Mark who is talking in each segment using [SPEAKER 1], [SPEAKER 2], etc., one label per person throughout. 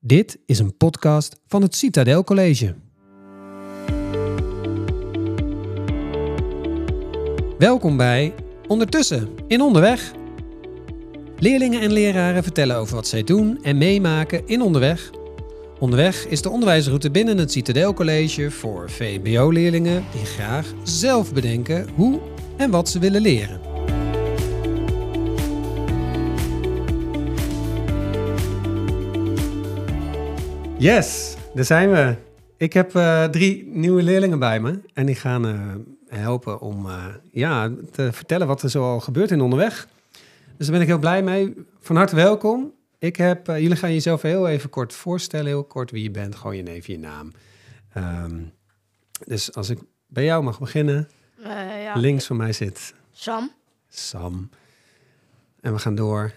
[SPEAKER 1] Dit is een podcast van het Citadel College. Welkom bij Ondertussen in Onderweg. Leerlingen en leraren vertellen over wat zij doen en meemaken in Onderweg. Onderweg is de onderwijsroute binnen het Citadel College voor VMBO-leerlingen die graag zelf bedenken hoe en wat ze willen leren. Yes, daar zijn we. Ik heb eh, drie nieuwe leerlingen bij me. En die gaan eh, helpen om eh, ja, te vertellen wat er zoal gebeurt in onderweg. Dus daar ben ik heel blij mee. Van harte welkom. Ik heb, eh, jullie gaan jezelf heel even kort voorstellen. Heel kort wie je bent. Gewoon je neef, je naam. Ehm, dus als ik bij jou mag beginnen.
[SPEAKER 2] Eh, ja.
[SPEAKER 1] Links van mij zit
[SPEAKER 2] Sam.
[SPEAKER 1] Sam. En we gaan door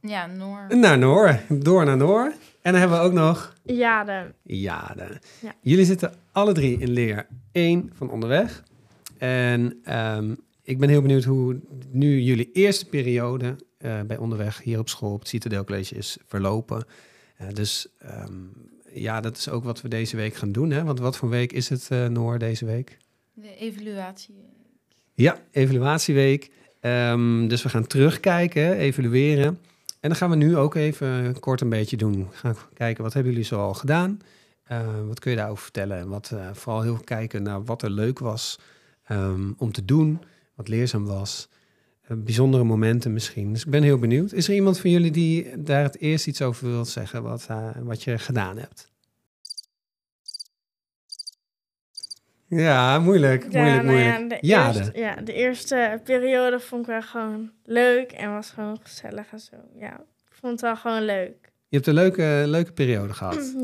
[SPEAKER 3] Ja, Noor.
[SPEAKER 1] naar Noor. Door naar Noor. En dan hebben we ook nog...
[SPEAKER 2] Ja, de...
[SPEAKER 1] Jade.
[SPEAKER 2] Ja.
[SPEAKER 1] Jullie zitten alle drie in leer 1 van onderweg. En ehm, ik ben heel benieuwd hoe nu jullie eerste periode eh, bij onderweg hier op school op het Citadel College is verlopen. Eh, dus ehm, ja, dat is ook wat we deze week gaan doen. Hè? Want wat voor week is het, eh Noor, deze week?
[SPEAKER 3] De evaluatie.
[SPEAKER 1] Ja, evaluatieweek. Ehm, dus we gaan terugkijken, evalueren. En dan gaan we nu ook even kort een beetje doen. We Gaan kijken, wat hebben jullie zoal gedaan? Eh, wat kun je daarover vertellen? En wat, eh, vooral heel veel kijken naar wat er leuk was ehm, om te doen. Wat leerzaam was. Eh, bijzondere momenten misschien. Dus ik ben heel benieuwd. Is er iemand van jullie die daar het eerst iets over wilt zeggen? Wat, eh, wat je gedaan hebt? Ja, moeilijk. moeilijk,
[SPEAKER 2] nou
[SPEAKER 1] moeilijk.
[SPEAKER 2] ja, de,
[SPEAKER 1] Jade.
[SPEAKER 2] Eerste, ja, de eerste periode vond ik wel gewoon leuk en was gewoon gezellig en zo. Ja, ik vond het wel gewoon leuk.
[SPEAKER 1] Je hebt een leuke, leuke periode gehad.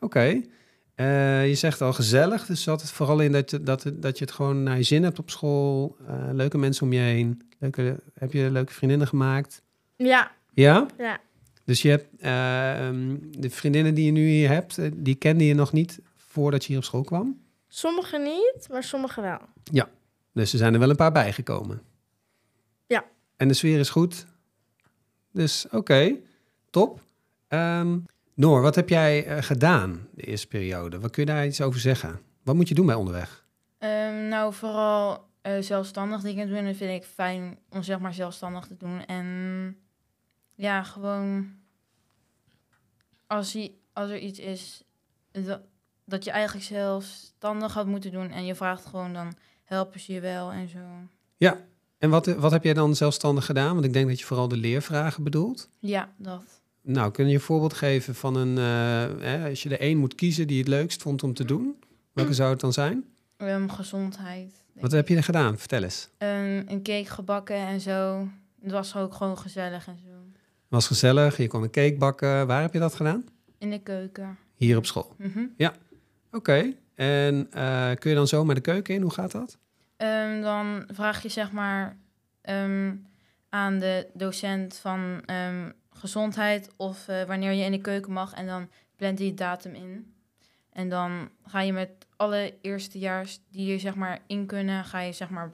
[SPEAKER 1] Oké.
[SPEAKER 2] Mm, Ja,
[SPEAKER 1] Eh, je zegt al gezellig, dus zat het vooral in dat je, dat, het- dat je het gewoon naar je zin hebt op school. eh, leuke mensen om je heen. Leuke, heb je leuke vriendinnen gemaakt?
[SPEAKER 2] ja,
[SPEAKER 1] Ja?
[SPEAKER 2] ja.
[SPEAKER 1] Dus je hebt eh, ehm, de vriendinnen die je nu hier hebt, eh, die kende je nog niet voordat je hier op school kwam.
[SPEAKER 2] Sommigen niet, maar sommigen wel.
[SPEAKER 1] Dus er zijn er wel een paar bijgekomen.
[SPEAKER 2] Ja.
[SPEAKER 1] En de sfeer is goed. Dus oké, top. Ehm, Noor, wat heb jij eh, gedaan de eerste periode? Wat kun je daar iets over zeggen? Wat moet je doen bij onderweg?
[SPEAKER 3] Ehm, nou, vooral eh, zelfstandig dingen doen. Dat vind ik fijn om zeg maar zelfstandig te doen. En ja, gewoon als, i- als er iets is dat, dat je eigenlijk zelfstandig had moeten doen. En je vraagt gewoon, dan helpen ze je wel en zo.
[SPEAKER 1] En wat, eh, wat heb jij dan zelfstandig gedaan? Want ik denk dat je vooral de leervragen bedoelt.
[SPEAKER 3] Ja, dat.
[SPEAKER 1] Nou, kun je een voorbeeld geven van een... eh, hè, als je er één moet kiezen die je het leukst vond om te doen, welke zou het dan zijn?
[SPEAKER 3] Ehm, gezondheid. denk
[SPEAKER 1] Wat
[SPEAKER 3] ik.
[SPEAKER 1] heb je er gedaan? Vertel eens.
[SPEAKER 3] Ehm, een cake gebakken en zo. Het was ook gewoon gezellig en zo.
[SPEAKER 1] Was gezellig, je kon een cake bakken. Waar heb je dat gedaan?
[SPEAKER 3] In de keuken.
[SPEAKER 1] Hier op school.
[SPEAKER 3] Mhm.
[SPEAKER 1] Oké, en eh, kun je dan zomaar de keuken in? Hoe gaat dat?
[SPEAKER 3] Ehm, dan vraag je zeg maar ehm, aan de docent van ehm, gezondheid of eh, wanneer je in de keuken mag en dan plant die datum in. En dan ga je met alle eerstejaars die je zeg maar in kunnen, ga je zeg maar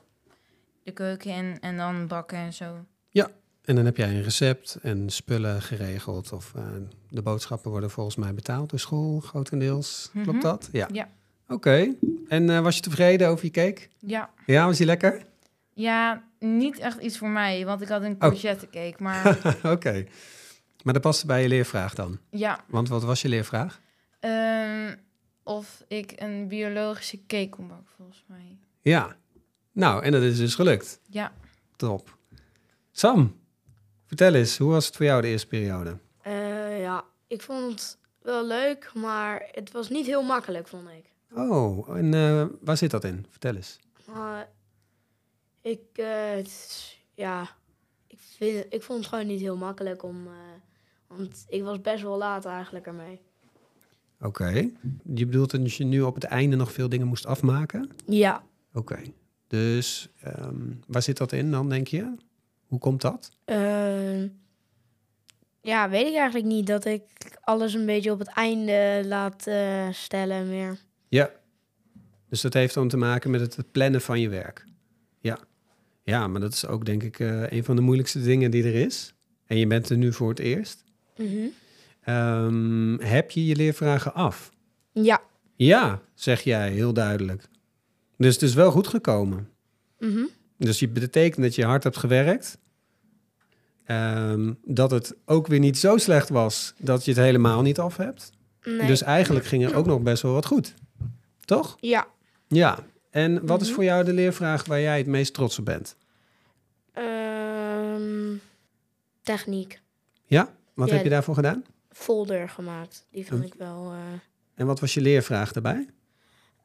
[SPEAKER 3] de keuken in en dan bakken en zo.
[SPEAKER 1] En dan heb jij een recept en spullen geregeld. Of eh, de boodschappen worden volgens mij betaald door school, grotendeels.
[SPEAKER 3] Mhm.
[SPEAKER 1] Klopt dat? Ja.
[SPEAKER 3] Ja.
[SPEAKER 1] Oké, en eh, was je tevreden over je cake?
[SPEAKER 3] Ja.
[SPEAKER 1] Ja, was die lekker?
[SPEAKER 3] ja, niet echt iets voor mij, want ik had een courgette cake. Maar
[SPEAKER 1] Oké. Maar dat past bij je leervraag dan.
[SPEAKER 3] ja,
[SPEAKER 1] Want wat was je leervraag?
[SPEAKER 3] ehm, of ik een biologische cake kon bakken volgens mij.
[SPEAKER 1] Ja. Nou, en dat is dus gelukt.
[SPEAKER 3] Ja.
[SPEAKER 1] Top. Sam, vertel eens, hoe was het voor jou de eerste periode?
[SPEAKER 4] Eh, ja, ik vond het wel leuk, maar het was niet heel makkelijk, vond ik.
[SPEAKER 1] Oh, en eh, waar zit dat in? Vertel eens.
[SPEAKER 4] Eh, ik, eh, het is- ja, ik, vind, ik vond het gewoon niet heel makkelijk om, eh, want ik was best wel laat eigenlijk ermee.
[SPEAKER 1] Oké. Je bedoelt dat je nu op het einde nog veel dingen moest afmaken?
[SPEAKER 4] Ja,
[SPEAKER 1] Oké. Dus ehm, waar zit dat in dan, denk je? Hoe komt dat?
[SPEAKER 4] eh, ja, weet ik eigenlijk niet dat ik alles een beetje op het einde laat eh, stellen meer.
[SPEAKER 1] Dus dat heeft dan te maken met het plannen van je werk. Ja. Ja, maar dat is ook denk ik eh, een van de moeilijkste dingen die er is. En je bent er nu voor het eerst.
[SPEAKER 4] Mhm.
[SPEAKER 1] Ehm, heb je je leervragen af?
[SPEAKER 4] Ja.
[SPEAKER 1] Ja, zeg jij heel duidelijk. Dus het is wel goed gekomen.
[SPEAKER 4] Mhm.
[SPEAKER 1] Dus je betekent dat je hard hebt gewerkt. Ehm, dat het ook weer niet zo slecht was dat je het helemaal niet af hebt.
[SPEAKER 4] Nee.
[SPEAKER 1] Dus eigenlijk ging er ook nog best wel wat goed. Toch?
[SPEAKER 4] Ja.
[SPEAKER 1] Ja. En wat is
[SPEAKER 4] Mhm.
[SPEAKER 1] voor jou de leervraag waar jij het meest trots op bent?
[SPEAKER 4] Ehm, techniek.
[SPEAKER 1] Wat
[SPEAKER 4] Ja,
[SPEAKER 1] heb je daarvoor gedaan?
[SPEAKER 4] Folder gemaakt. Die vond
[SPEAKER 1] Een-
[SPEAKER 4] ik wel... eh,
[SPEAKER 1] En wat was je leervraag daarbij?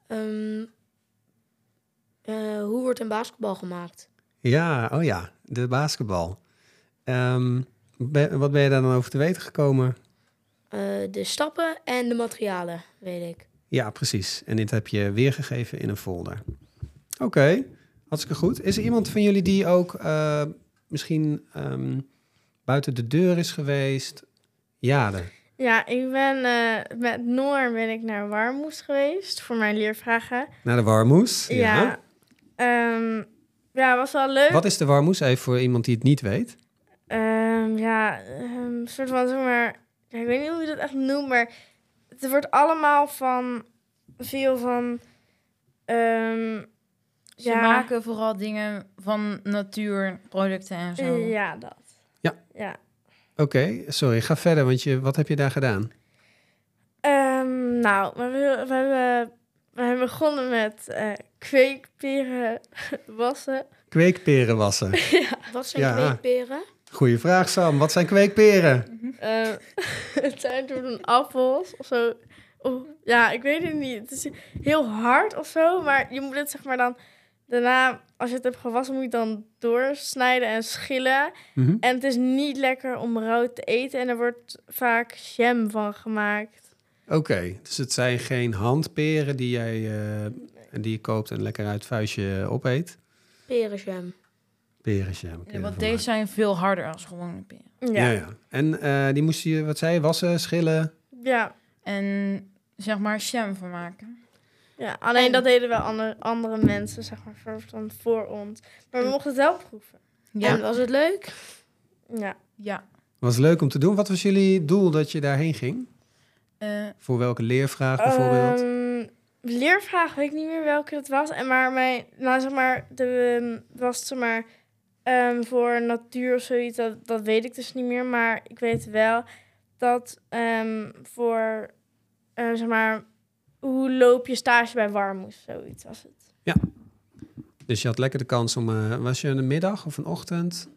[SPEAKER 4] ehm, eh, hoe wordt een basketbal gemaakt?
[SPEAKER 1] Ja, oh ja, de basketbal. Ehm, ben- wat ben je daar dan over te weten gekomen?
[SPEAKER 4] Eh, de stappen en de materialen, weet ik.
[SPEAKER 1] Ja, precies. En dit heb je weergegeven in een folder. Oké, hartstikke goed. Is er iemand van jullie die ook eh, misschien ehm, buiten de deur is geweest? Jade.
[SPEAKER 2] Ja, ik ben eh, met Noor ben ik naar Warmoes geweest voor mijn leervragen.
[SPEAKER 1] Naar de warmoes.
[SPEAKER 2] Ja. Ehm, ja, was wel leuk.
[SPEAKER 1] Wat is de warmoes? Even voor iemand die het niet weet.
[SPEAKER 2] Ehm, ja, ehm, een soort van, zeg maar... ja, ik weet niet hoe je dat echt noemt, maar... Het wordt allemaal van... Veel van... ehm,
[SPEAKER 3] Ze
[SPEAKER 2] Ja.
[SPEAKER 3] maken vooral dingen van natuurproducten en zo.
[SPEAKER 2] ja, dat.
[SPEAKER 1] Ja.
[SPEAKER 2] Ja.
[SPEAKER 1] Oké, sorry, ga verder, want je, wat heb je daar gedaan?
[SPEAKER 2] Ehm, nou, we, we, we, hebben, we hebben begonnen met eh kweekperen wassen.
[SPEAKER 1] Kweekperen wassen.
[SPEAKER 4] Wat zijn
[SPEAKER 1] Ja.
[SPEAKER 4] kweekperen?
[SPEAKER 1] Goeie vraag, Sam. Wat zijn kweekperen?
[SPEAKER 2] Eh, het zijn toen appels of zo. Of- ja, ik weet het niet. Het is heel hard of zo. Maar je moet het zeg maar dan... Daarna, als je het hebt gewassen, moet je het dan doorsnijden en schillen.
[SPEAKER 1] Mhm.
[SPEAKER 2] En het is niet lekker om rauw te eten. En er wordt vaak jam van gemaakt.
[SPEAKER 1] Oké, dus het zijn geen handperen die, jij, eh, die je koopt en lekker uit het vuistje opeet.
[SPEAKER 4] Perenjam.
[SPEAKER 1] Perenjam. kun je
[SPEAKER 3] Ja, want
[SPEAKER 1] ervan
[SPEAKER 3] deze zijn veel harder als gewone peren.
[SPEAKER 1] maken. Ja, ja. En eh, die moest je, wat zei je, wassen, schillen?
[SPEAKER 2] ja.
[SPEAKER 3] En zeg maar jam van maken.
[SPEAKER 2] Ja, alleen
[SPEAKER 4] En-
[SPEAKER 2] dat deden wel andere, andere mensen, zeg maar, voor, dan voor ons. Maar we
[SPEAKER 4] En-
[SPEAKER 2] mochten het wel proeven.
[SPEAKER 3] Ja.
[SPEAKER 4] En was het leuk?
[SPEAKER 2] Ja.
[SPEAKER 3] ja.
[SPEAKER 1] Was leuk om te doen. Wat was jullie doel dat je daarheen ging?
[SPEAKER 3] Eh,
[SPEAKER 1] Voor welke leervraag bijvoorbeeld?
[SPEAKER 2] Ehm, leervraag, weet ik niet meer welke dat was. En maar mijn, nou zeg maar, de, ehm, was zeg maar ehm, voor natuur of zoiets, dat, dat weet ik dus niet meer. Maar ik weet wel dat ehm, voor, eh, zeg maar, hoe loop je stage bij Warmoes, zoiets was het.
[SPEAKER 1] Dus je had lekker de kans om, eh, was je een middag of een ochtend?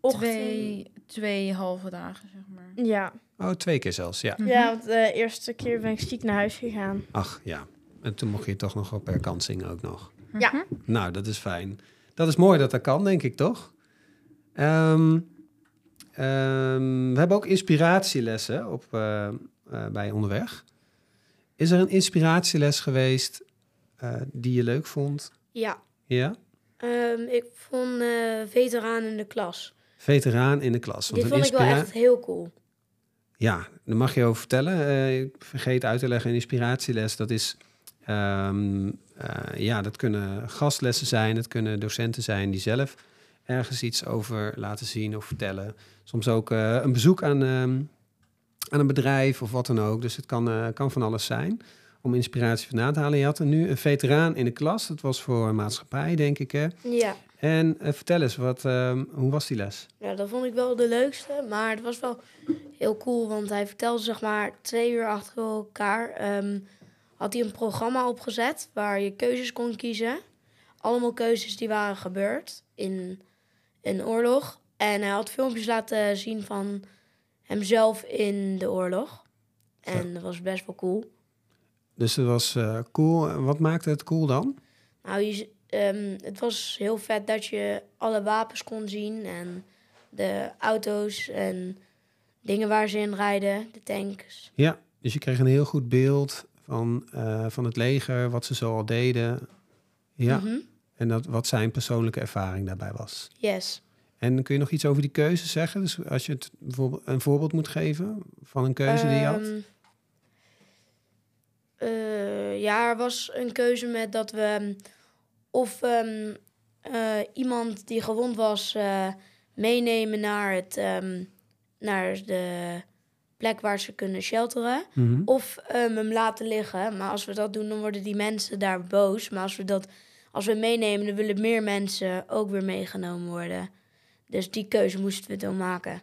[SPEAKER 2] eh.
[SPEAKER 3] twee, twee halve dagen, zeg maar.
[SPEAKER 2] Ja,
[SPEAKER 1] Oh, twee keer zelfs, ja.
[SPEAKER 3] Mhm.
[SPEAKER 2] ja, want eh, de eerste keer ben ik ziek naar huis gegaan.
[SPEAKER 1] Ach, ja. En toen mocht je toch nog wel per kant zingen ook nog.
[SPEAKER 2] Ja.
[SPEAKER 3] Mhm.
[SPEAKER 1] Nou, dat is fijn. Dat is mooi dat dat kan, denk ik, toch? Ehm, ehm, we hebben ook inspiratielessen op, eh, eh, bij Onderweg. Is er een inspiratieles geweest eh, die je leuk vond?
[SPEAKER 4] Ja.
[SPEAKER 1] Ja?
[SPEAKER 4] Ehm, ik vond eh veteraan in de klas.
[SPEAKER 1] Veteraan in de klas.
[SPEAKER 4] Dit
[SPEAKER 1] een
[SPEAKER 4] vond ik wel
[SPEAKER 1] inspira-
[SPEAKER 4] echt heel cool.
[SPEAKER 1] Ja, daar mag je over vertellen. Eh, ik vergeet uit te leggen, een inspiratieles, dat is... ehm, eh, ja, dat kunnen gastlessen zijn, het kunnen docenten zijn die zelf ergens iets over laten zien of vertellen. Soms ook eh, een bezoek aan, ehm, aan een bedrijf of wat dan ook. Dus het kan, eh, kan van alles zijn om inspiratie vandaan te halen. Je had er nu een veteraan in de klas, dat was voor maatschappij, denk ik. Hè?
[SPEAKER 4] Ja.
[SPEAKER 1] En eh, vertel eens, wat, ehm, hoe was die les?
[SPEAKER 4] ja, dat vond ik wel de leukste. Maar het was wel heel cool, want hij vertelde zeg maar twee uur achter elkaar... ehm, had hij een programma opgezet waar je keuzes kon kiezen. Allemaal keuzes die waren gebeurd in een oorlog. En hij had filmpjes laten zien van hemzelf in de oorlog. En dat was best wel cool.
[SPEAKER 1] Dus dat was eh, cool. En Wat maakte het cool dan?
[SPEAKER 4] Nou, je, z- ehm, het was heel vet dat je alle wapens kon zien en de auto's en dingen waar ze in rijden, de tanks.
[SPEAKER 1] Ja, dus je kreeg een heel goed beeld van, eh, van het leger, wat ze zo al deden. Ja,
[SPEAKER 4] Mhm.
[SPEAKER 1] en dat, wat zijn persoonlijke ervaring daarbij was.
[SPEAKER 4] Yes.
[SPEAKER 1] En kun je nog iets over die keuze zeggen? Dus als je het bijvoorbeeld een voorbeeld moet geven van een keuze die je had.
[SPEAKER 4] Ehm, eh, ja, er was een keuze met dat we ehm, of ehm, eh, iemand die gewond was eh, meenemen naar het ehm, naar de plek waar ze kunnen shelteren.
[SPEAKER 1] Mhm.
[SPEAKER 4] Of ehm, hem laten liggen. Maar als we dat doen, dan worden die mensen daar boos. Maar als we dat als we hem meenemen, dan willen meer mensen ook weer meegenomen worden. Dus die keuze moesten we dan maken.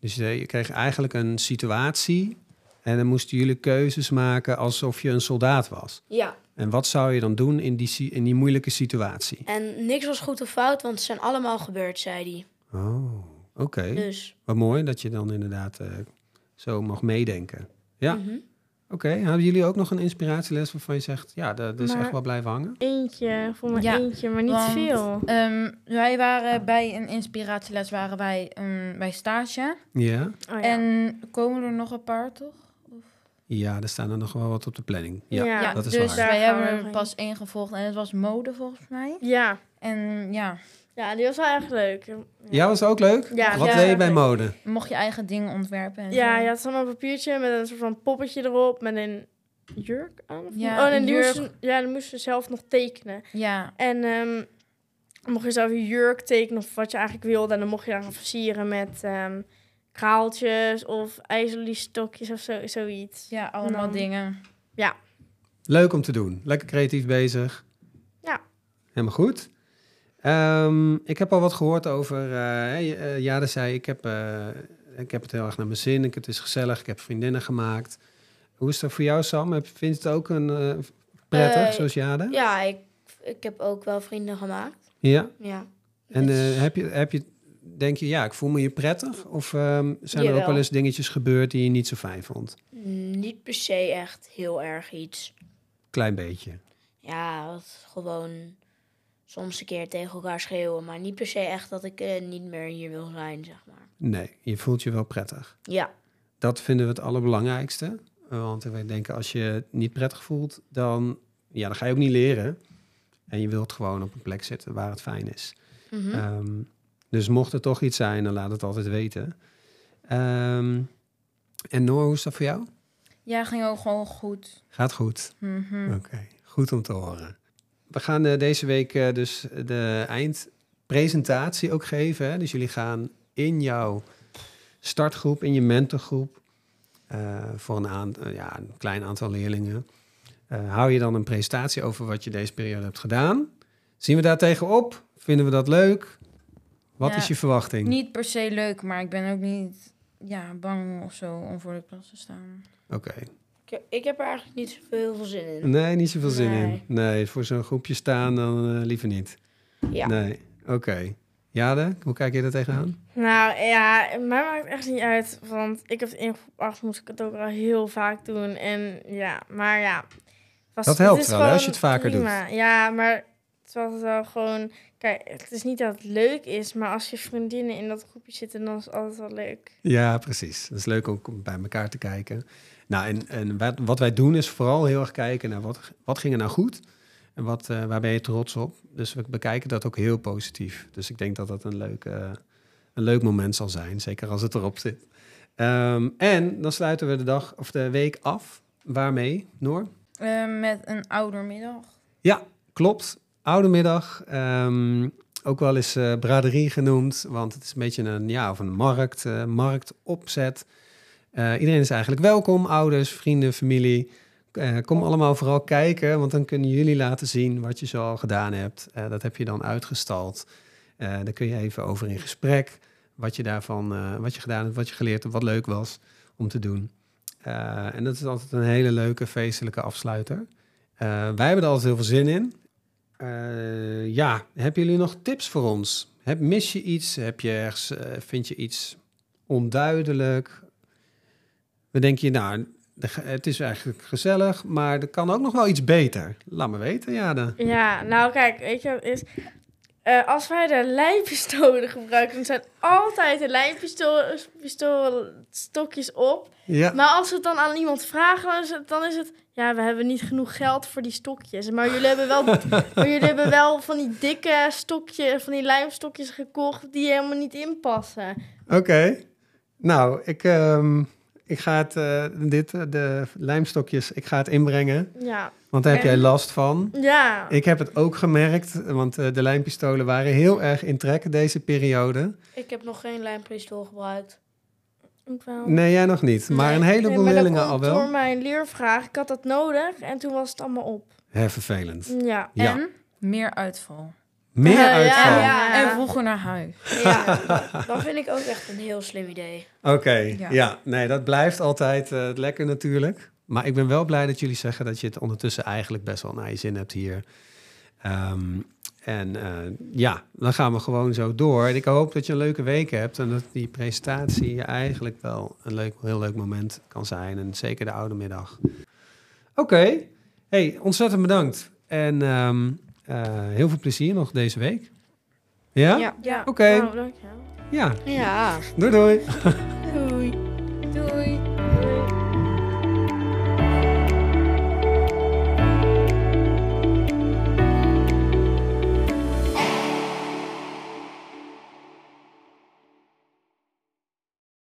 [SPEAKER 1] Dus eh, je kreeg eigenlijk een situatie en dan moesten jullie keuzes maken alsof je een soldaat was.
[SPEAKER 4] Ja.
[SPEAKER 1] En wat zou je dan doen in die, si- in die moeilijke situatie?
[SPEAKER 4] En niks was goed of fout, want ze zijn allemaal gebeurd, zei hij.
[SPEAKER 1] Oh, oké.
[SPEAKER 4] Dus.
[SPEAKER 1] Wat mooi dat je dan inderdaad eh, zo mag meedenken. Ja.
[SPEAKER 4] mhm.
[SPEAKER 1] Oké, hadden jullie ook nog een inspiratieles waarvan je zegt... ja, dat dat is
[SPEAKER 2] Maar-
[SPEAKER 1] echt wel blijven hangen?
[SPEAKER 2] Eentje, voor mij
[SPEAKER 3] Ja,
[SPEAKER 2] eentje, maar niet
[SPEAKER 3] want-
[SPEAKER 2] veel.
[SPEAKER 3] Ehm, wij waren bij een inspiratieles, waren wij ehm, bij stage.
[SPEAKER 1] Ja?
[SPEAKER 2] Oh, ja.
[SPEAKER 3] En komen er nog een paar, toch?
[SPEAKER 1] Ja, er staan er nog wel wat op de planning. Ja.
[SPEAKER 2] ja.
[SPEAKER 1] dat is
[SPEAKER 3] dus
[SPEAKER 1] waar.
[SPEAKER 2] Daar
[SPEAKER 3] wij
[SPEAKER 2] gaan we
[SPEAKER 3] hebben
[SPEAKER 2] nog
[SPEAKER 3] er
[SPEAKER 2] heen.
[SPEAKER 3] pas één gevolgd en het was mode volgens mij.
[SPEAKER 2] ja.
[SPEAKER 3] En ja,
[SPEAKER 2] Ja, die was wel echt leuk. Ja,
[SPEAKER 1] Ja, was ook leuk?
[SPEAKER 2] Ja,
[SPEAKER 1] wat
[SPEAKER 3] ja,
[SPEAKER 1] deed je
[SPEAKER 2] leuk.
[SPEAKER 1] bij mode?
[SPEAKER 3] mocht je eigen dingen ontwerpen. En
[SPEAKER 2] ja,
[SPEAKER 3] zo.
[SPEAKER 2] je had zo'n papiertje met een soort van poppetje erop, met een jurk aan. of
[SPEAKER 3] Ja,
[SPEAKER 2] niet? oh, en
[SPEAKER 3] een
[SPEAKER 2] die
[SPEAKER 3] jurk.
[SPEAKER 2] moesten, ja, die moesten ze zelf nog tekenen.
[SPEAKER 3] ja.
[SPEAKER 2] En ehm, dan mocht je zelf je jurk tekenen of wat je eigenlijk wilde. En dan mocht je daar gaan versieren met ehm, kraaltjes of ijzerliestokjes of zo, zoiets.
[SPEAKER 3] Ja, allemaal
[SPEAKER 2] Dan-
[SPEAKER 3] dingen.
[SPEAKER 1] Leuk om te doen. Lekker creatief bezig.
[SPEAKER 2] Ja.
[SPEAKER 1] Helemaal goed. Ehm, ik heb al wat gehoord over... eh, hè, J- eh, Jade zei, ik heb, eh, ik heb het heel erg naar mijn zin. Ik, het is gezellig. Ik heb vriendinnen gemaakt. Hoe is dat voor jou, Sam? Heb- Vind je het ook een, eh, prettig,
[SPEAKER 4] Eh,
[SPEAKER 1] zoals Jade?
[SPEAKER 4] Ja, ik, ik heb ook wel vrienden gemaakt.
[SPEAKER 1] Ja.
[SPEAKER 4] Ja.
[SPEAKER 1] En
[SPEAKER 4] Dus-
[SPEAKER 1] eh, heb je, heb je, denk je, ja, ik voel me hier prettig? Of ehm, zijn er ook
[SPEAKER 4] Jawel.
[SPEAKER 1] wel eens dingetjes gebeurd die je niet zo fijn vond?
[SPEAKER 4] Niet per se echt heel erg iets.
[SPEAKER 1] Klein beetje.
[SPEAKER 4] Ja, wat gewoon soms een keer tegen elkaar schreeuwen. Maar niet per se echt dat ik eh, niet meer hier wil zijn, zeg maar.
[SPEAKER 1] Nee, je voelt je wel prettig.
[SPEAKER 4] Ja.
[SPEAKER 1] Dat vinden we het allerbelangrijkste. Want ik denk, als je het niet prettig voelt, dan, ja, dan ga je ook niet leren. En je wilt gewoon op een plek zitten waar het fijn is.
[SPEAKER 4] Mhm.
[SPEAKER 1] Ehm, dus mocht er toch iets zijn, dan laat het altijd weten. Ehm, en Noor, hoe is dat voor jou?
[SPEAKER 3] Ja, ging ook gewoon goed.
[SPEAKER 1] Gaat goed.
[SPEAKER 3] Mhm.
[SPEAKER 1] Oké, goed om te horen. We gaan eh, deze week eh, dus de eindpresentatie ook geven. Hè? Dus jullie gaan in jouw startgroep, in je mentorgroep, eh, voor een, aan- eh, ja, een klein aantal leerlingen, eh, hou je dan een presentatie over wat je deze periode hebt gedaan. Zien we daar tegenop? Vinden we dat leuk? Wat
[SPEAKER 3] Ja,
[SPEAKER 1] is je verwachting?
[SPEAKER 3] Niet per se leuk, maar ik ben ook niet ja, bang of zo om voor de klas te staan.
[SPEAKER 1] Oké.
[SPEAKER 4] Ik, ik heb er eigenlijk niet zoveel heel veel zin in.
[SPEAKER 1] Nee, niet zoveel zin in.
[SPEAKER 4] Nee.
[SPEAKER 1] Nee, voor zo'n groepje staan dan eh, liever niet.
[SPEAKER 4] Ja.
[SPEAKER 1] Nee, oké. Jade, hoe kijk je daar tegenaan?
[SPEAKER 2] Nou ja, mij maakt het echt niet uit. Want ik heb het in groep 8 moest ik het ook al heel vaak doen. En ja, maar ja. was-
[SPEAKER 1] Dat helpt
[SPEAKER 2] is
[SPEAKER 1] wel, hè, als je
[SPEAKER 2] gewoon
[SPEAKER 1] het vaker
[SPEAKER 2] prima. Ja, maar het was wel gewoon... Kijk, het is niet dat het leuk is, maar als je vriendinnen in dat groepje zitten, dan is het altijd wel leuk.
[SPEAKER 1] Ja, precies. Dat is leuk ook om bij elkaar te kijken. Nou, en, en wat, wat wij doen is vooral heel erg kijken naar wat, wat ging er nou goed en wat, eh, waar ben je trots op. Dus we bekijken dat ook heel positief. Dus ik denk dat dat een leuk, eh, een leuk moment zal zijn, zeker als het erop zit. Ehm, en dan sluiten we de dag of de week af. Waarmee, Noor?
[SPEAKER 3] Eh, met een oudermiddag.
[SPEAKER 1] Klopt, oude middag. Ehm, ook wel eens eh, braderie genoemd, want het is een beetje een, ja, of een markt, eh, marktopzet. Eh, iedereen is eigenlijk welkom, ouders, vrienden, familie. Eh, kom allemaal vooral kijken, want dan kunnen jullie laten zien wat je zo al gedaan hebt. Eh, dat heb je dan uitgestald. Eh daar kun je even over in gesprek. Wat je daarvan, eh, wat je gedaan hebt, wat je geleerd hebt, wat leuk was om te doen. Eh, en dat is altijd een hele leuke feestelijke afsluiter. Eh, wij hebben er altijd heel veel zin in. Eh, ja, hebben jullie nog tips voor ons? Heb, mis je iets? Heb je ergens, eh, vind je iets onduidelijk? We denken, nou, de ge- het is eigenlijk gezellig, maar er kan ook nog wel iets beter. Laat me weten, Jade.
[SPEAKER 2] Ja, nou kijk, weet je wat het is? Eh, als wij de lijnpistolen gebruiken, dan zijn altijd de lijnpistoolstokjes op.
[SPEAKER 1] Ja,
[SPEAKER 2] Maar als we het dan aan iemand vragen, dan is het, dan is het... Ja, we hebben niet genoeg geld voor die stokjes. Maar jullie hebben wel, maar jullie hebben wel van die dikke stokjes, van die lijmstokjes gekocht... die helemaal niet inpassen.
[SPEAKER 1] oké. Nou, ik, ehm, ik ga het, eh, dit, eh, de lijmstokjes, ik ga het inbrengen.
[SPEAKER 2] Ja,
[SPEAKER 1] Want daar heb jij
[SPEAKER 3] En-
[SPEAKER 1] last van.
[SPEAKER 2] ja.
[SPEAKER 1] Ik heb het ook gemerkt, want eh, de lijmpistolen waren heel erg in trek deze periode.
[SPEAKER 4] Ik heb nog geen lijmpistool gebruikt.
[SPEAKER 2] ook wel.
[SPEAKER 1] Nee, jij nog niet. Maar een heleboel
[SPEAKER 2] maar dat
[SPEAKER 1] leerlingen
[SPEAKER 2] komt
[SPEAKER 1] al wel.
[SPEAKER 2] Door mijn leervraag. Ik had dat nodig en toen was het allemaal op.
[SPEAKER 1] Hè, vervelend.
[SPEAKER 2] Ja.
[SPEAKER 1] Ja.
[SPEAKER 3] En meer uitval.
[SPEAKER 1] Meer
[SPEAKER 2] Ja,
[SPEAKER 1] uitval.
[SPEAKER 2] ja, ja.
[SPEAKER 3] En vroeger naar huis.
[SPEAKER 4] Ja, dat vind ik ook echt een heel slim idee.
[SPEAKER 1] Oké, ja.
[SPEAKER 3] Ja.
[SPEAKER 1] Nee, dat blijft altijd eh, lekker natuurlijk. Maar ik ben wel blij dat jullie zeggen dat je het ondertussen eigenlijk best wel naar je zin hebt hier. Ehm, en eh, ja, dan gaan we gewoon zo door. En ik hoop dat je een leuke week hebt en dat die presentatie eigenlijk wel een leuk, heel leuk moment kan zijn. En zeker de oude middag. Oké, hey, ontzettend bedankt. En ehm, eh, heel veel plezier nog deze week. Ja?
[SPEAKER 2] Ja.
[SPEAKER 1] Oké.
[SPEAKER 2] Nou, dankjewel.
[SPEAKER 1] Ja.
[SPEAKER 4] Ja.
[SPEAKER 1] Doei doei.